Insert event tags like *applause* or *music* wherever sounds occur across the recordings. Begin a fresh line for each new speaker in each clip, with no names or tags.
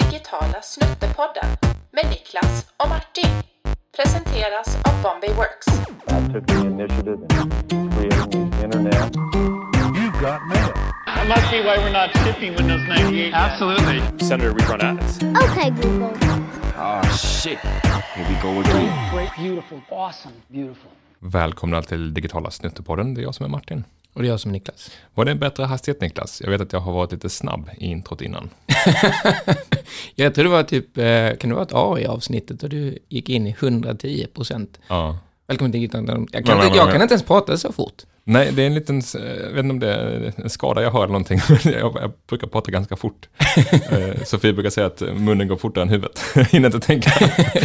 Digitala snuttepodden med Niklas och Martin. Presenteras av Bombay Works.
I took the initiative in creating the internet.
You've got mail.
That must be why we're not shipping Windows 98. Absolutely.
Senator, we run ads.
Okay, Google.
Great, beautiful, awesome, beautiful.
Välkomna till Digitala Snuttepodden. Det är jag som är Martin.
Och det är jag som Niklas.
Var det en bättre hastighet, Niklas? Jag vet att jag har varit lite snabb i introt innan.
Jag tror det var typ, eh, kan det vara ett A i avsnittet och du gick in i 110 procent.
Ja.
Välkommen till Gitan. Jag,
Men,
kan,
men,
inte- jag
men.
kan inte ens prata så
*laughs*
fort.
Nej, det är en liten, eh, jag vet inte om det är en skada jag har eller någonting. *laughs* Jag, jag brukar prata
*laughs*
ganska fort. Eh, Sofie brukar säga att munnen går fortare än huvudet. *laughs* Jag Hinner inte tänka.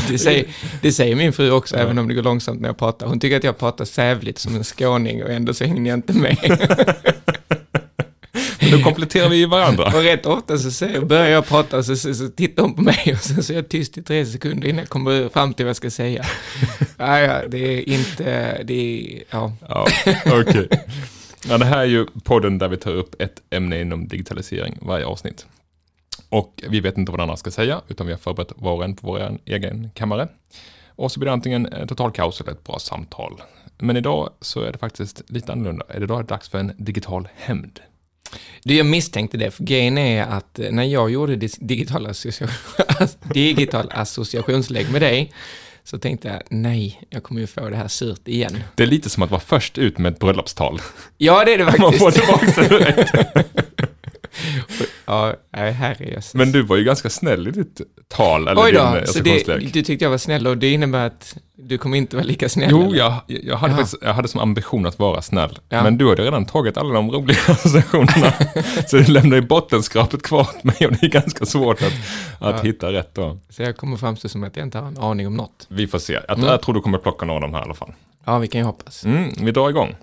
Det säger, det säger min fru också, även om det går långsamt när jag pratar. Hon tycker att jag pratar sävligt som en skåning och ändå så hänger jag inte med.
*laughs* Men då kompletterar vi ju varandra.
Och rätt ofta så säger, börjar jag prata och så, så, så tittar hon på mig och sen så är jag tyst i tre sekunder innan jag kommer fram till vad jag ska
*laughs*
säga. Ja, ja, det är inte, det är, ja.
Ja, okej. Ja, det här är ju podden där vi tar upp ett ämne inom digitalisering varje avsnitt. Och vi vet inte vad den andra ska säga, utan vi har förberett var och en på vår egen kammare. Och så blir det antingen eh, total kaos eller ett bra samtal. Men idag så är det faktiskt lite annorlunda. Idag är det dags för en digital hämnd.
Du, jag misstänkte det, för grejen är att eh, när jag gjorde dis- digital, associa- ass- digital associationslägg med dig, så tänkte jag, nej, jag kommer ju få det här surt igen.
Det är lite som att vara först ut med ett bröllopstal. *laughs*
Ja, det är det
Man får
faktiskt.
tillbaka det direkt.
Ja, nej, herre jösses.
Men du var ju ganska snäll i ditt tal, eller
Oj
din
då,
eh,
så det,
associationslek.
du tyckte jag var snäll och det innebär att du kommer inte vara lika snäll?
Jo,
eller?
jag, jag, hade faktiskt, jag hade som ambition att vara snäll.
Ja.
Men du hade redan tagit alla de roliga *laughs*
*laughs*
associationerna. så du lämnade ju bottenskrapet kvar åt mig och det är ganska svårt att, att hitta rätt då.
Så jag kommer framstå som att jag inte har en aning om något.
Vi får se. Jag,
Mm.
jag tror du kommer plocka några av de här i alla fall.
Ja, vi kan ju hoppas.
Mm, vi drar igång.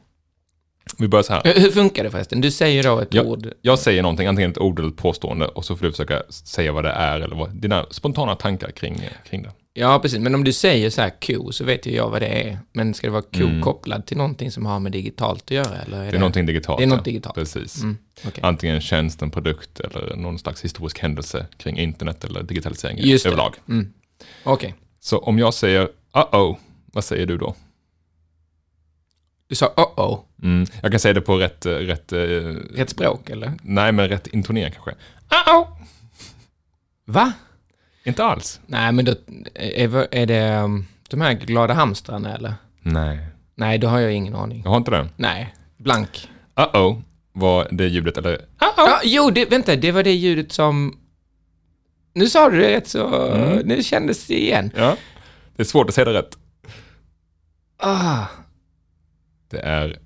Vi börjar så här.
Hur hur funkar det förresten? Du säger då ett ord.
Jag, jag säger någonting, antingen ett ord eller ett påstående och så får du försöka säga vad det är eller vad, dina spontana tankar kring, kring det.
Ja, precis. Men om du säger så här ko, så vet ju jag vad det är. Men ska det vara ko kopplad till någonting som har med digitalt att göra? Eller är Mm. det,
Det är någonting digitalt.
Det är något
ja.
digitalt. Mm,
Precis.
okej.
Antingen en tjänst, en produkt eller någon slags historisk händelse kring internet eller digitalisering
Just det.
överlag.
Okej.
Så om jag säger uh-oh, vad säger du då?
Du sa uh-oh.
Mm, jag kan säga det på rätt, eh, rätt, eh,
Rätt språk, eller?
nej men rätt intonering kanske. Uh-oh!
Va?
Inte alls.
Nej, men då är, är det um, de här glada hamstrarna, eller?
Nej.
Nej, då har jag ingen aning.
Jag har inte det.
Nej, blank.
Uh-oh var det ljudet, eller
Ja, jo, det, vänta, det var det ljudet som... Nu sa du det rätt så... Nu kändes det igen.
ja, det är svårt att säga det rätt.
Ah,
Det är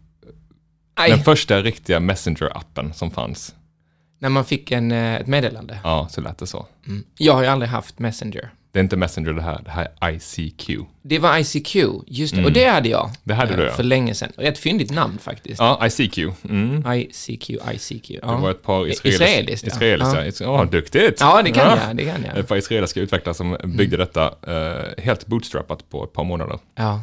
aj,
den första riktiga Messenger-appen som fanns.
när man fick en, eh, ett meddelande.
Ja, så lät det så.
Jag har ju aldrig haft Messenger.
Det är inte Messenger det här, det här är ICQ.
Det var ICQ, just det. Och det hade jag.
Mm. Det hade
eh,
du, ja.
För länge sedan. Rätt fyndigt namn faktiskt.
Ja, ICQ. Mm.
ICQ, ICQ. Ja.
Det var ett par israelis-
Israeliskt, ja.
israeliska. Ja, duktigt!
Ja, det kan jag. Det kan jag.
Ett par israeliska utvecklare som byggde detta eh, helt bootstrappat på ett par månader.
Ja.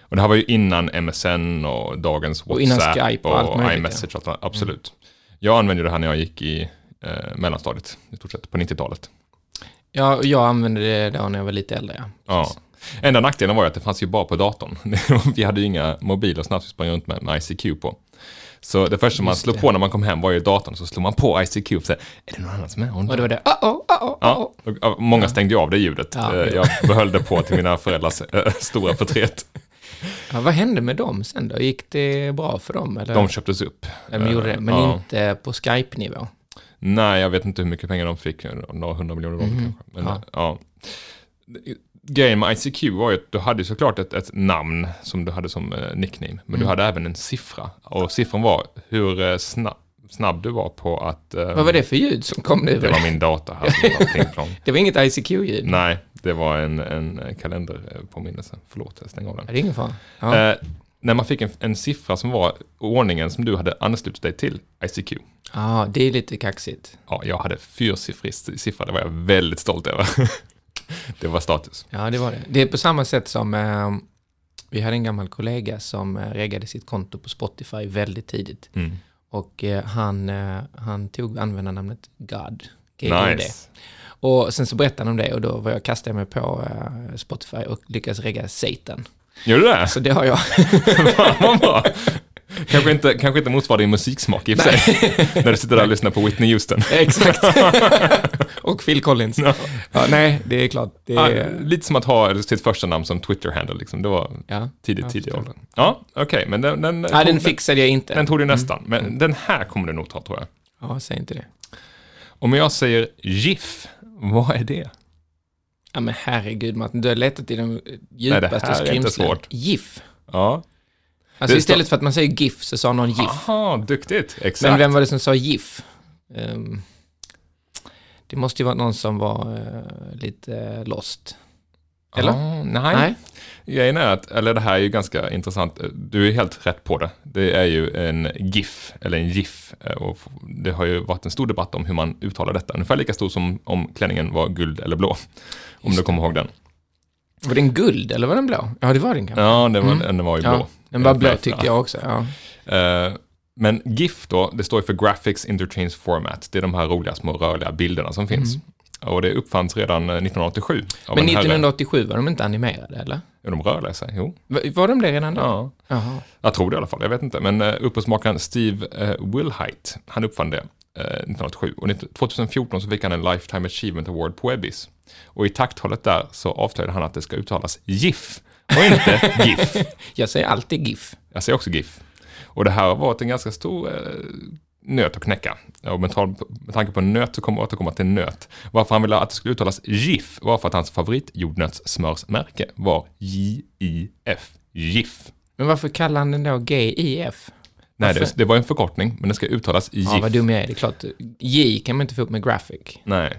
Och det här var ju innan MSN och dagens WhatsApp
Och innan Skype och allt möjligt, Mm.
iMessage. och allt- Absolut. Jag använde det här när jag gick i eh, mellanstadiet, i stort sett, på 90-talet.
Ja, och jag använde det då när jag var lite äldre. Ja.
Ja. Enda nackdelen var ju att det fanns ju bara på datorn. *laughs* Vi hade ju inga mobiler snabbt, vi sprang runt med, med ICQ på. Så det första man slog på när man kom hem var ju datorn, så slog man på ICQ och så här, är det någon annan som är
Och
online?
då var det oh, oh, oh, oh, oh.
Ja, och, och många stängde ju av det ljudet.
Ja.
Eh, Jag behöll det på till mina föräldrars eh, stora förtret.
Ja, vad hände med dem sen då? Gick det bra för dem? Eller?
De köptes upp.
Ja, de gjorde det, men
Ja.
inte på Skype-nivå.
Nej, jag vet inte hur mycket pengar de fick, några hundra miljoner dollar
Mhm.
kanske. Men, ja. Grejen med ICQ var ju att du hade ju såklart ett, ett namn som du hade som eh, nickname, men
Mm.
du hade även en siffra. Och siffran var hur eh, snabb, snabb du var på att... eh,
Vad var det för ljud som kom nu?
Det var min data här som var pling
*laughs*
plong.
Det var inget ICQ-ljud?
Nej, det var en, en eh, kalenderpåminnelse. Förlåt, jag stänger av den.
Det är ingen fara. Ja.
Eh, när man fick en, en siffra som var ordningen som du hade anslutit dig till, ICQ.
Ja, det är lite kaxigt.
Ja, jag hade fyrsiffrig si- siffra, det var jag väldigt stolt över. *laughs* det var status.
Ja, det var det. Det är på samma sätt som eh, vi hade en gammal kollega som eh, reggade sitt konto på Spotify väldigt tidigt.
Mm.
Och eh, han, eh, han tog användarnamnet God. GGD.
Nice.
Och sen så berättade han om det och då var jag kastade mig på eh, Spotify och lyckades regga Satan.
Gör du det?
Så det
*laughs*
har jag.
Fan vad bra. Kanske inte, kanske inte motsvarar din musiksmak i och för sig. När du sitter där och lyssnar på Whitney Houston.
Exakt. *laughs* och Phil Collins. Ja. nej, det är klart. Det
Ja,
är,
Ah, lite som att ha sitt första namn som Twitter-handle. Liksom. Det var
ja.
tidigt,
jag
tidig
förstår.
ålder. Ja, okej, men den, den,
Nej, den Mm.
tog-
fixade jag inte.
den tog du nästan. Men den här kommer du nog ta, tror jag.
Ja, säg inte det.
Om jag säger GIF, vad är det?
Ja, men herregud Martin, du har letat i de
här
djupaste
är inte
skrymslen.
svårt.
GIF.
Ja.
Alltså
Det
istället för att man säger GIF så sa någon GIF.
Aha, duktigt. Exakt.
men vem var det som sa GIF? Ehm, det måste ju vara någon som var eh, lite eh, lost. Eller?
Ah, nej. Grejen är att, eller det här är ju ganska intressant, du är helt rätt på det. Det är ju en GIF, eller en GIF, eh, och f- det har ju varit en stor debatt om hur man uttalar detta. Ungefär lika stor som om klänningen var guld eller blå, *laughs* om du kommer ihåg den.
Var den guld eller var den blå? Ja, det var den kanske.
Ja, den var, den var ju blå.
Mm.
Eh,
den var blå
Ja.
tyckte jag också. Ja.
Eh, Men GIF då, det står ju för Graphics Interchange Format. Det är de här roliga små rörliga bilderna som finns. Och det uppfanns redan eh, 1987. av
Mm. Men
en herre-
1987 var de inte animerade eller?
Är de rörliga? så här? Jo.
Var, var de det redan då?
Ja.
Jaha.
Jag tror det i alla fall, jag vet inte. Men eh, upphovsmakaren Steve eh, Wilhite, han uppfann det eh, 1987. Och 19- 2014 så fick han en Lifetime Achievement Award på Ebbis. Och i takthållet där så avslöjade han att det ska uttalas GIF och inte GIF.
Jag säger alltid GIF.
Jag säger också GIF. Och det här har varit en ganska stor eh, nöt att knäcka. Och med, tal, med tanke på nöt så kommer jag återkomma till nöt. Varför han ville att det skulle uttalas GIF var för att hans favorit jordnötssmörsmärke var J-I-F, GIF.
Men varför kallar han den då GIF?
Nej, det,
Varför?
det var en förkortning, men det ska uttalas GIF.
Ja, vad dum jag är. Det är klart, J kan man inte få upp med graphic.
Nej.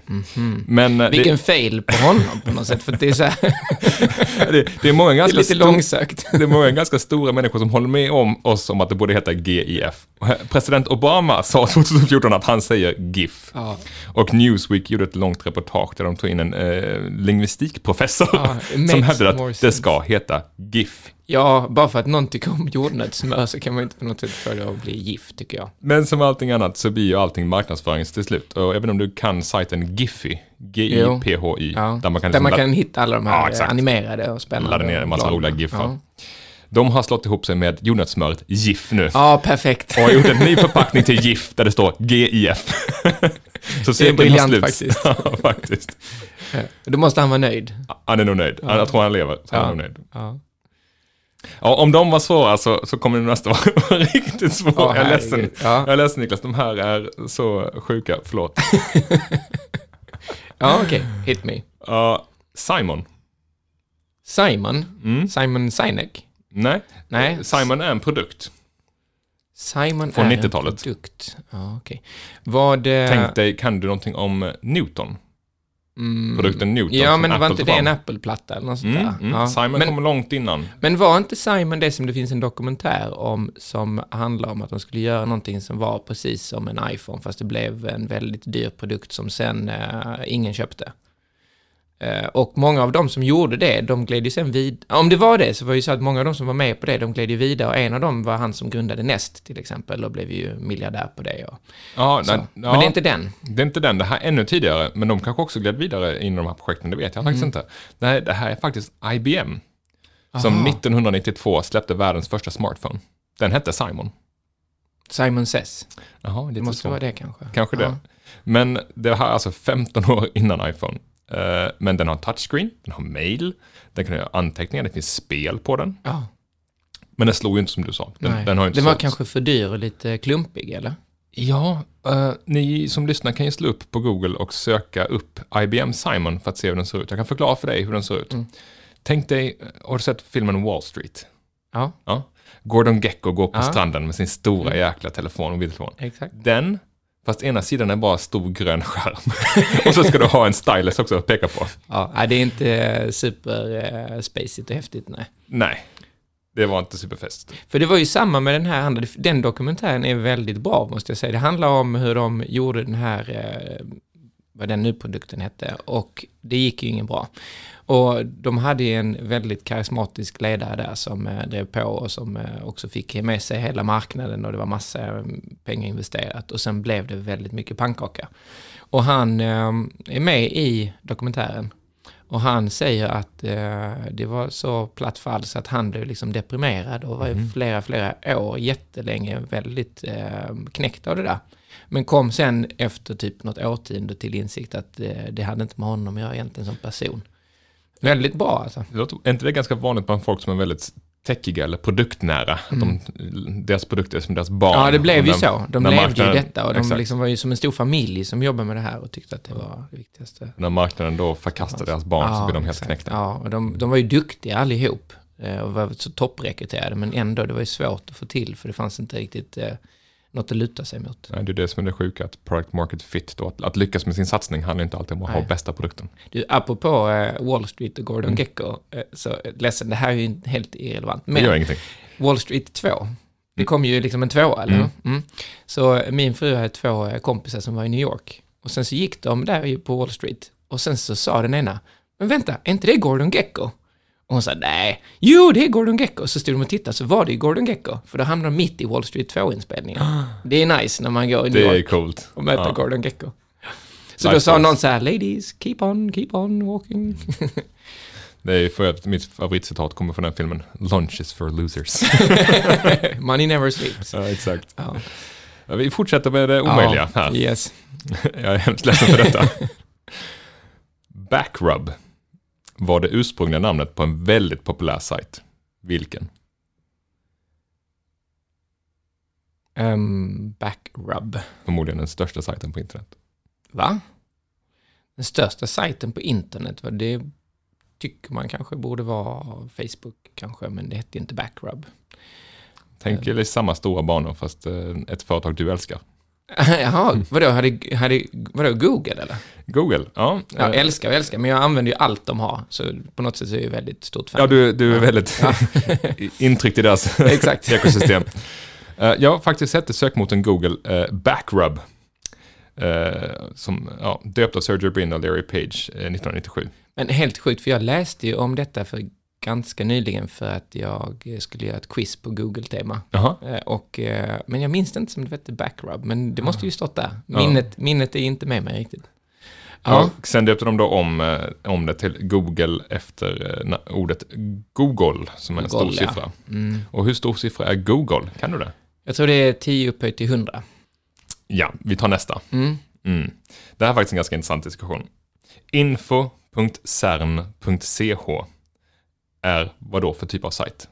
Men eh,
Mhm. Vilken fail på honom på något sätt, för det är, så här,
det, det, det, är många
*laughs* det är
ganska
lite
stor-
långsökt.
det är många ganska stora människor som håller med om oss om att det borde heta GIF. President Obama sa *laughs* 2014 att han säger GIF.
Ja,
Och Newsweek gjorde ett långt reportage där de tog in en eh, lingvistikprofessor *laughs*
Ja, it makes
som hävdade
more
att det
sense.
ska heta GIF.
ja, bara för att någon tycker om jordnötssmör så kan man inte på något sätt få det att bli gift, tycker jag.
Men som allting annat så blir ju allting marknadsförings till slut. Och även om du kan sajten Giphy, G-I-P-H-Y,
Ja.
där
där
man kan, liksom
man
lad-
kan hitta alla de här
Ja, exakt.
animerade och spännande.
ladda ner en massa
bladen.
roliga GIFar.
Ja.
De har slått ihop sig med jordnötssmöret GIF nu.
ja, perfekt.
och har gjort en ny förpackning till GIF där det står GIF.
*laughs*
Så cirkeln har
briljant
sluts.
faktiskt.
*laughs* ja, faktiskt.
Då måste han vara nöjd.
Han är nog nöjd. Han- Jag tror han lever. Så han är
Ja.
nog nöjd.
Ja.
Ja, om de var svåra så, så kommer de nästa *laughs* vara riktigt svåra.
Ja,
jag är
herregud.
ledsen.
Ja.
Jag är ledsen Niklas, de här är så sjuka. Förlåt.
Ja, okej. Hit me.
Ja, Simon.
Simon? Simon Sinek?
Nej.
Nej.
Mm. Eh, Simon är en produkt.
Simon
Från
är
90-talet.
en produkt. Ja, okej. Vad... eh,
Tänk dig, kan du någonting om Newton?
mm,
Produkten Newton
Ja,
som
men
Apple
var inte
tog
det
fram.
en Apple-platta eller något sånt
Mm,
där?
mm.
Ja.
Simon
men,
kom långt innan.
men var inte Simon det som det finns en dokumentär om som handlar om att de skulle göra någonting som var precis som en iPhone fast det blev en väldigt dyr produkt som sen eh, ingen köpte? Eh, och många av de som gjorde det, de gled ju sen vid... Om det var det så var det ju så att många av de som var med på det, de gled ju vidare och en av dem var han som grundade Nest till exempel och blev ju miljardär på det. Och,
Ja,
så.
nej, ja.
Men det är inte den.
Det är inte den, det här är ännu tidigare, men de kanske också gled vidare inom de här projekten, det vet jag faktiskt
Mm.
inte. Det här, det här är faktiskt IBM, som 1992 släppte världens första smartphone. Den hette Simon.
Simon Says.
Jaha,
Det måste vara det kanske.
Kanske det.
Ja.
Men det här är alltså 15 år innan iPhone. Eh, Men den har touchscreen, den har mail, den kan göra anteckningar, det finns spel på den.
Ja.
Men den slog ju inte som du sa. Den,
Nej.
den har ju inte
den var
sålts.
kanske för dyr och lite klumpig, eller?
Ja, eh, ni som lyssnar kan ju slå upp på Google och söka upp IBM Simon för att se hur den ser ut. Jag kan förklara för dig hur den ser ut. Tänk dig, har du sett filmen Wall Street?
Ja,
Ja. Gordon Gecko går på
Ja.
stranden med sin stora jäkla telefon, mobiltelefon.
exakt.
Den, fast ena sidan är bara stor grön skärm. *laughs* och så ska du ha en stylus också att peka på.
Ja, nej, det är inte eh, super eh, spacigt och häftigt, nej.
Nej, det var inte superfest.
För det var ju samma med den här andra, den dokumentären är väldigt bra måste jag säga. Det handlar om hur de gjorde den här eh, vad den nu produkten hette, och det gick ju ingen bra. Och de hade ju en väldigt karismatisk ledare där som eh, drev på och som eh, också fick med sig hela marknaden och det var massa eh, pengar investerat och sen blev det väldigt mycket pannkaka. Och han eh, är med i dokumentären och han säger att eh, det var så platt fall så att han blev liksom deprimerad och var
Mhm.
i flera, flera år, jättelänge, väldigt eh, knäckt av det där. Men kom sen efter typ något årtionde till insikt att eh, det hade inte med honom att göra egentligen som person. Väldigt bra alltså.
Det låter, är inte det ganska vanligt bland folk som är väldigt techiga eller produktnära? Att de, deras produkter är som deras barn.
Mm. Ja, det blev
Och
ju
när-
så. De
när
levde
marknaden-
ju detta och de
exakt.
liksom var ju som en stor familj som jobbade med det här och tyckte att det var det viktigaste.
När marknaden då förkastar deras barn så blir de helt
exakt.
knäckta.
Ja, och de, de var ju duktiga allihop eh, och var så topprekryterade, men ändå, det var ju svårt att få till för det fanns inte riktigt eh, något att luta sig mot.
Nej, det är det som är det sjuka, att product market fit då, att, att lyckas med sin satsning handlar ju inte alltid om att ha
Nej.
bästa produkten.
Du, apropå eh, Wall Street och Gordon Gecko, eh, så eh, ledsen, det här är ju inte helt irrelevant,
Mm. Det gör
men
ingenting.
Wall Street 2,
Mm.
det kom ju liksom en tvåa, eller hur? Mm. Så eh, min fru hade två eh, kompisar som var i New York, och sen så gick de där ju på Wall Street, och sen så sa den ena, men vänta, är inte det Gordon Gecko? Och hon sa nej, jo det är Gordon Gecko. Så stod de och tittade så var det ju Gordon Gecko. För då hamnade de mitt i Wall Street
*gasps*
2-inspelningen. Det är nice när man går i New
Det är
York
coolt.
och möter
Ja.
Gordon Gecko. Så
Life
då sa
goals.
någon så här, ladies, keep on, keep on walking. *laughs*
Det är ju för övrigt mitt favoritcitat kommer från den filmen, Lunch is for losers.
Money never sleeps.
ja, exakt.
*laughs* Ja.
Ja, Vi fortsätter med det omöjliga
Ja,
här.
Yes.
*laughs* Jag är hemskt ledsen för detta. Backrub var det ursprungliga namnet på en väldigt populär sajt. Vilken?
Um, back rub.
Förmodligen den största sajten på internet.
Va? Den största sajten på internet, va? det tycker man kanske borde vara Facebook kanske, men det hette ju inte Backrub.
Tänk er i samma stora banor fast eh, ett företag du älskar.
*laughs* Jaha, vadå, hade, hade, vadå, Google eller?
Google, ja.
Ja,
eh,
älskar och älskar, men jag använder ju allt de har, så på något sätt så är jag ju väldigt stort fan.
Ja, du, du är väldigt intryckt *laughs* i deras
Exakt.
*laughs* ekosystem. Eh, Jag har faktiskt hette sökmotorn Google eh, Backrub, eh, som ja, döpt av Sergey Brin och Larry Page eh, 1997.
Men helt sjukt, för jag läste ju om detta för ganska nyligen för att jag skulle göra ett quiz på Google-tema.
Jaha.
Eh, Och, eh, men jag minns det inte som det hette backrub, men det måste ju stått där. Minnet, minnet är inte med mig riktigt.
Ja.
Ja.
Och sen döpte de då om, eh, om det till Google efter eh, na- ordet Google, som är
Google,
en stor
ja. Mm.
siffra. Och hur stor siffra är Google? Kan du det?
Jag tror det är 10 upphöjt till 100.
Ja, vi tar nästa.
Mm.
Mm. Det här är faktiskt en ganska intressant diskussion. Info.cern.ch är vad då för typ av sajt?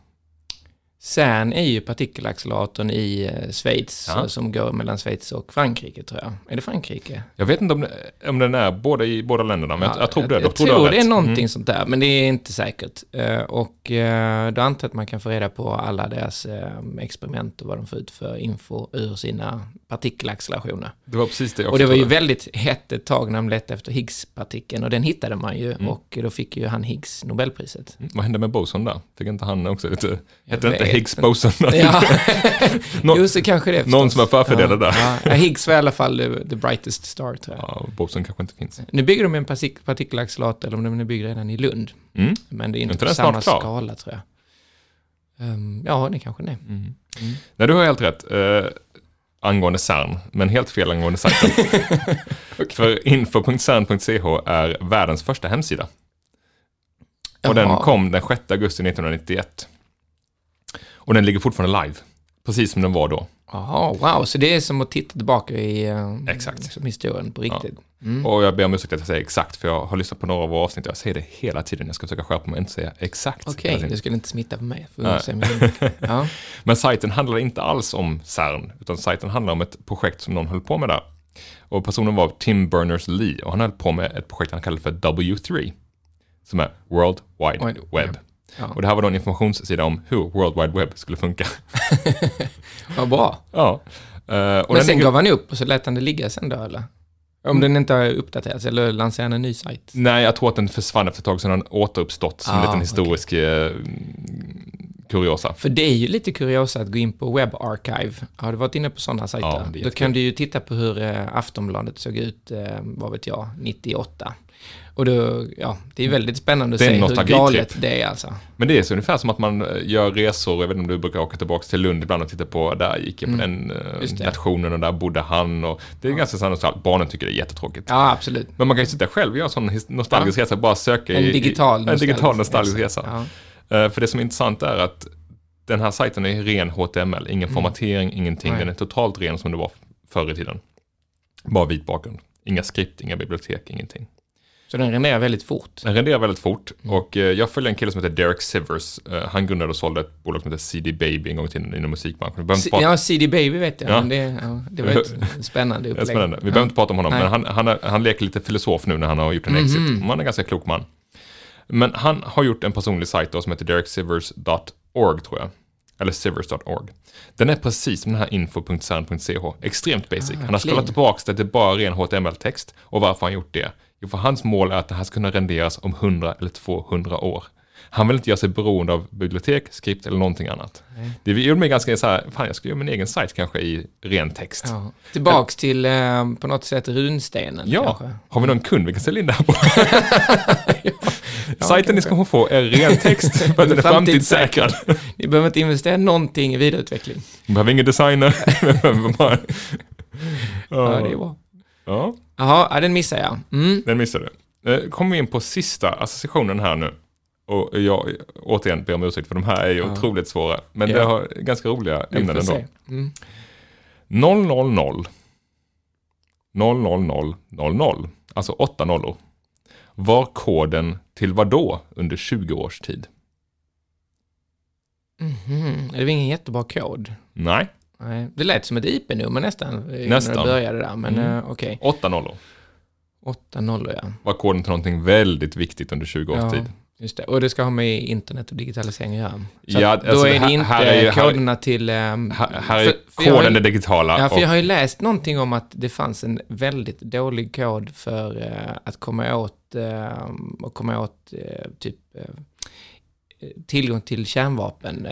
CERN är ju partikelacceleratorn i eh, Schweiz,
Ja.
eh, som går mellan Schweiz och Frankrike tror jag. Är det Frankrike?
Jag vet inte om, det, om den är båda i båda länderna, men jag, jag tror det.
Jag,
Jag tror,
tror,
du har
det
rätt.
är någonting
Mm.
sånt där, men det är inte säkert. Eh, Och eh, då antar jag att man kan få reda på alla deras eh, experiment och vad de får ut för info ur sina partikelaccelerationer.
Det var precis det jag
Och det
också
var ju
trodde.
väldigt hett ett tag när de letade efter Higgs-partikeln och den hittade man ju och då fick ju han Higgs Nobelpriset.
Mm, Vad hände med Boson där? Fick inte han också lite... Hette
Jag
inte
vet
Higgs
inte.
Boson?
Ja, *laughs*
Nå-
jo, så kanske det är
någon
förstås.
som var förfördelad där.
Ja, ja, Higgs var i alla fall the, the brightest star tror jag.
*laughs* Ja, Boson kanske inte finns.
Nu bygger de en partik- partikelaccelerator, eller om de nu bygger redan i Lund,
Mm.
men det är
Är
inte
inte
på
den
samma
snart klar?
skala tror jag. Ehm, ja, det kanske det är.
Mm. Nej, du har helt rätt eh, angående CERN, men helt fel
*laughs*
angående sajten. För info.cern.ch är världens första hemsida. Och den
Jaha.
kom den 6 augusti 1991. Och den ligger fortfarande live, precis som den var då.
Jaha, wow, så det är som att titta tillbaka i ehm,
Exakt.
Som historien på riktigt.
Och jag ber om ursäkt att jag säger exakt, för jag har lyssnat på några av våra avsnitt och jag säger det hela tiden. Jag ska försöka skärpa mig och inte säga exakt.
Okej,
hela tiden.
det skulle inte smitta på mig. Får vi
Nej.
se om
*laughs*
jag- ja.
Men sajten handlar inte alls om CERN, utan sajten handlar om ett projekt som någon höll på med där. Och personen var Tim Berners-Lee och han höll på med ett projekt han kallade för W3, som är World Wide
Wide
Web.
Web. Ja.
Och det här var då en informationssida om hur World Wide Web skulle funka. *laughs*
Vad bra.
ja. Eh, och
Men
den Mm.
sen
ligger-
gav han upp och så lät han det ligga sen då eller? Om den inte har uppdaterats eller lanserar han en ny sajt?
Nej, jag tror att den försvann efter ett tag, sen har den återuppstått som en
Ah,
liten historisk eh, kuriosa.
För det är ju lite kuriosa att gå in på Web Archive. Har du varit inne på sådana sajter?
Ja, det är
Då
jättekul.
kan du ju titta på hur eh, Aftonbladet såg ut, eh, vad vet jag, 98. Och då, ja, det är väldigt spännande att
Det är
se
en typ.
hur
nostalgitripp.
galet det är alltså.
Men det är så ungefär som att man eh, gör resor, jag vet inte om du brukar åka tillbaka till Lund ibland och titta på, där gick jag på den eh,
Mm. Just det.
nationen och där bodde han. Och det är ganska sannolikt att barnen tycker det är jättetråkigt.
Ja, absolut.
Men man kan ju sitta själv och göra en sån his- nostalgisk resa, bara söka
En
i- i...
digital
En digital nostalgisk
nostalgisk
resa.
Ja.
Eh, För det som är intressant är att den här sajten är ren HTML, ingen formatering, ingenting.
Mm. Nej.
Den är totalt ren som det var förr i tiden. Bara vit bakgrund. Inga skript, inga bibliotek, ingenting.
Så den renderar väldigt fort.
Den renderar väldigt fort och eh, jag följer en kille som heter Derek Sivers. Eh, Han grundade och sålde ett bolag som heter CD Baby en gång till inom musikbranschen. Vi behöver inte
C-
prata-
Ja, CD Baby vet jag,
Ja.
men det, ja, det var
*laughs*
ett spännande
Det är
upplägg.
spännande. Vi behöver inte prata om honom,
Nej. Mhm.
men han, han, är, han leker lite filosof nu när han har gjort en exit. Han är en ganska klok man. Men han har gjort en personlig sajt då, som heter dereksivers.org tror jag. Eller sivers.org. Den är precis som den här info.cern.ch. Extremt basic. han har
Ah, clean.
skalat tillbaka det till bara ren HTML-text. Och varför har han gjort det? Jo, för hans mål är att det här ska kunna renderas om 100 eller 200 år. Han vill inte göra sig beroende av bibliotek, skript eller någonting annat. Det gjorde mig ganska så här, fan jag ska göra min egen sajt kanske i ren text.
Ja. Tillbaks till eh, på något sätt runstenen
Ja,
kanske.
har vi någon kund vi kan sälja in det här
*laughs*
på? Sajten ni ska få är ren text
*laughs*
för att den är framtidssäkrad. *laughs*
Ni behöver inte investera någonting i vidareutveckling.
Vi behöver ingen designer. *laughs* Vi behöver bara-
Ja, det är bra.
ja,
Jaha, ja, den missar jag. Mm.
den missade du. Eh, Kommer vi in på sista associationen här nu. Och jag återigen ber om ursäkt för de här är ju otroligt svåra. Men
Ja.
det har ganska roliga
Vi
ämnen
får
ändå.
se. Mm.
000 000 alltså åtta nollor, var koden till vad då under 20 års tid?
Mhm. Det var ingen jättebra kod.
Nej,
Nej. Det lät som ett IP-nummer nästan, eh,
Nästan.
när det började där. Men
Mm.
eh, okej,
åtta nollor
åtta nollor ja.
var koden till någonting väldigt viktigt under 20 års
ja.
tid.
Just det. Och det ska ha med internet och digitalisering att göra. Så
Ja,
att
alltså,
då är det
här-
inte
här är ju- här-
koderna till... ehm,
Här, här är
för- för jag har
koden
ju-
det digitala.
Ja, för
och,
jag har ju läst någonting om att det fanns en väldigt dålig kod för eh, att komma åt, eh, och komma åt eh, typ eh, tillgång till kärnvapen eh,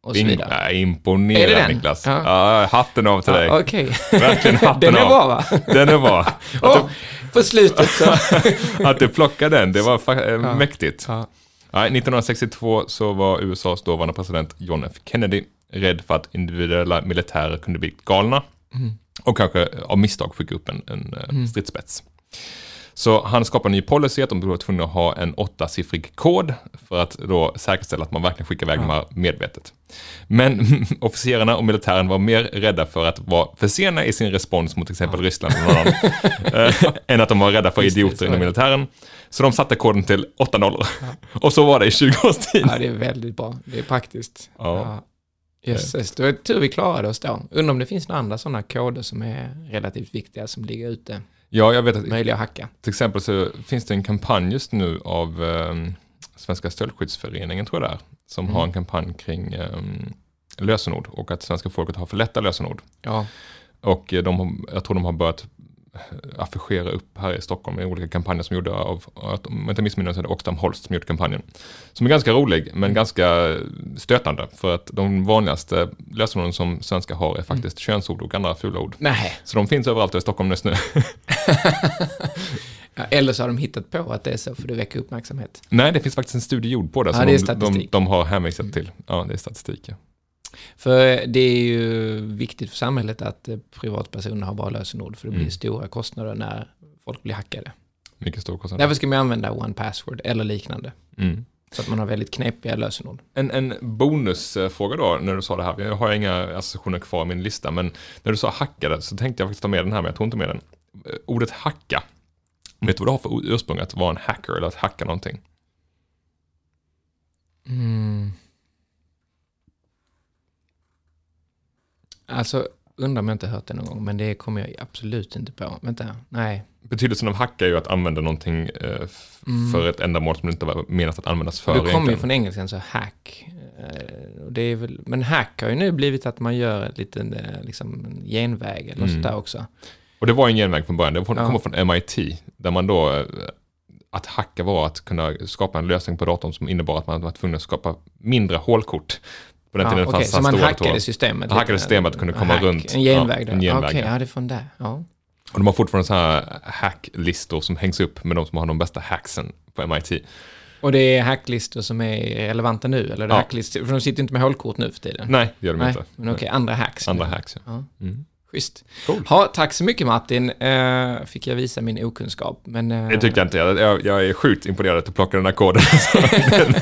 och så
Bing-
vidare.
Nej,
Är det
imponerande
den?
Niklas.
Ja.
Ja. hatten av till dig.
Ja, Okej,
*laughs*
*laughs*
Verkligen hatten
den är
av.
bra va?
Den är bra.
Åh, på slutet
*laughs*
så.
Att du plockade den, det var fa- eh, mäktigt.
Ja.
Nej, 1962 så var USAs dåvarande president John F Kennedy rädd för att individuella militärer kunde bli galna
Mm.
och kanske av misstag skicka upp en, en eh, stridsspets. Så han skapade en ny policy att de var tvungna att ha en åttasiffrig kod för att då säkerställa att man verkligen skickar iväg de här medvetet. Men *laughs* officerarna och militären var mer rädda för att vara för sena i sin respons mot till exempel Ryssland eller någon annan, eh, än att de var rädda för
Just det, så
idioter
är
inom
det.
militären. Så de satte koden till 8-0 och så var det i 20 års tid.
*laughs* Ja, det är väldigt bra. Det är praktiskt.
Ja.
Jösses, det var tur vi klarade oss då. Undrar om det finns några andra sådana koder som är relativt viktiga som ligger ute,
Ja, jag vet att
möjliga att hacka.
till exempel så finns det en kampanj just nu av ehm, Svenska stöldskyddsföreningen, tror jag det är, som
Mm.
har en kampanj kring ehm, lösenord och att svenska folket har för lätta lösenord.
Ja,
Och eh, de, har- jag tror de har börjat eh, affischera upp här i Stockholm i olika kampanjer som gjorda av, att- om jag inte missminner mig så är det Oxfam Holst som gjort kampanjen. Som är ganska rolig,
Mm.
men ganska stötande, för att de vanligaste lösenorden som svenskar har
Mm.
är faktiskt könsord och andra fula ord.
nej.
Så de finns överallt i Stockholm just nu. *laughs*
Ja, eller så har de hittat på att det är så för att väcka uppmärksamhet.
Nej, det finns faktiskt en studie gjord på det
Ja,
som
det är
de, de,
statistik.
de har hänvisat till. Ja, det är statistik. Ja.
För det är ju viktigt för samhället att eh, privatpersoner har bra lösenord för det blir stora kostnader när folk blir hackade.
Mycket stor kostnad.
Därför ska man använda one password eller liknande.
Mm.
Så att man har väldigt knepiga lösenord.
En, en bonusfråga då, när du sa det här. Jag har inga associationer kvar i min lista, men när du sa hackade så tänkte jag faktiskt ta med den här, men jag tror inte med den. Eh, Ordet hacka, vet du vad det har för o- ursprung att vara en hacker eller att hacka någonting?
Alltså, undrar om jag inte hört det någon gång, men det kommer jag absolut inte på. Vänta, nej.
Betydelsen av hacka är ju att använda någonting eh, f- för ett ändamål som det inte var menat att användas för.
Det kommer Mm. ju
egentligen.
från engelskan, så hack. Eh, och Det är väl, men hack har ju nu blivit att man gör en liten eh, liksom, en genväg
Mm.
eller något sånt där också.
Och det var en genväg från början, det var-
Ja.
kommer från MIT, där man då eh, att hacka var att kunna skapa en lösning på datorn som innebar att man var tvungen att skapa mindre hålkort. På den tiden
Ja, okej,
fanns
så man
stora
hackade
datorer.
systemet?
Man hackade
lite.
systemet, kunde komma
Hack,
runt.
En genväg
Ja,
där.
en genväg,
Okej,
ja.
ja det är från där. Ja.
Och de har fortfarande så här hacklistor som hängs upp med de som har de bästa hacksen på MIT.
Och det är hacklistor som är relevanta nu? Eller är det
Ja.
hacklistor, för de sitter inte med hålkort nu för tiden?
Nej, det gör de inte.
men okej, andra hacks.
Andra hacks, ja.
Ja.
Mm.
Schysst.
Cool.
Ha, tack så mycket Martin. Eh, fick jag visa min okunskap. Men, eh,
Det tyckte jag inte. Jag, jag, jag är sjukt imponerad att du plockade den här koden. *laughs* Så den-
ja.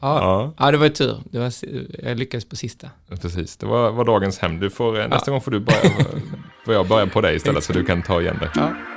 ja,
ja, det var ju tur. Det var, si- jag lyckades på sista.
precis. Det var, var dagens hem. Du får, eh, Nästa gång får du börja, får jag börja på dig istället så du kan ta igen det.
Ja.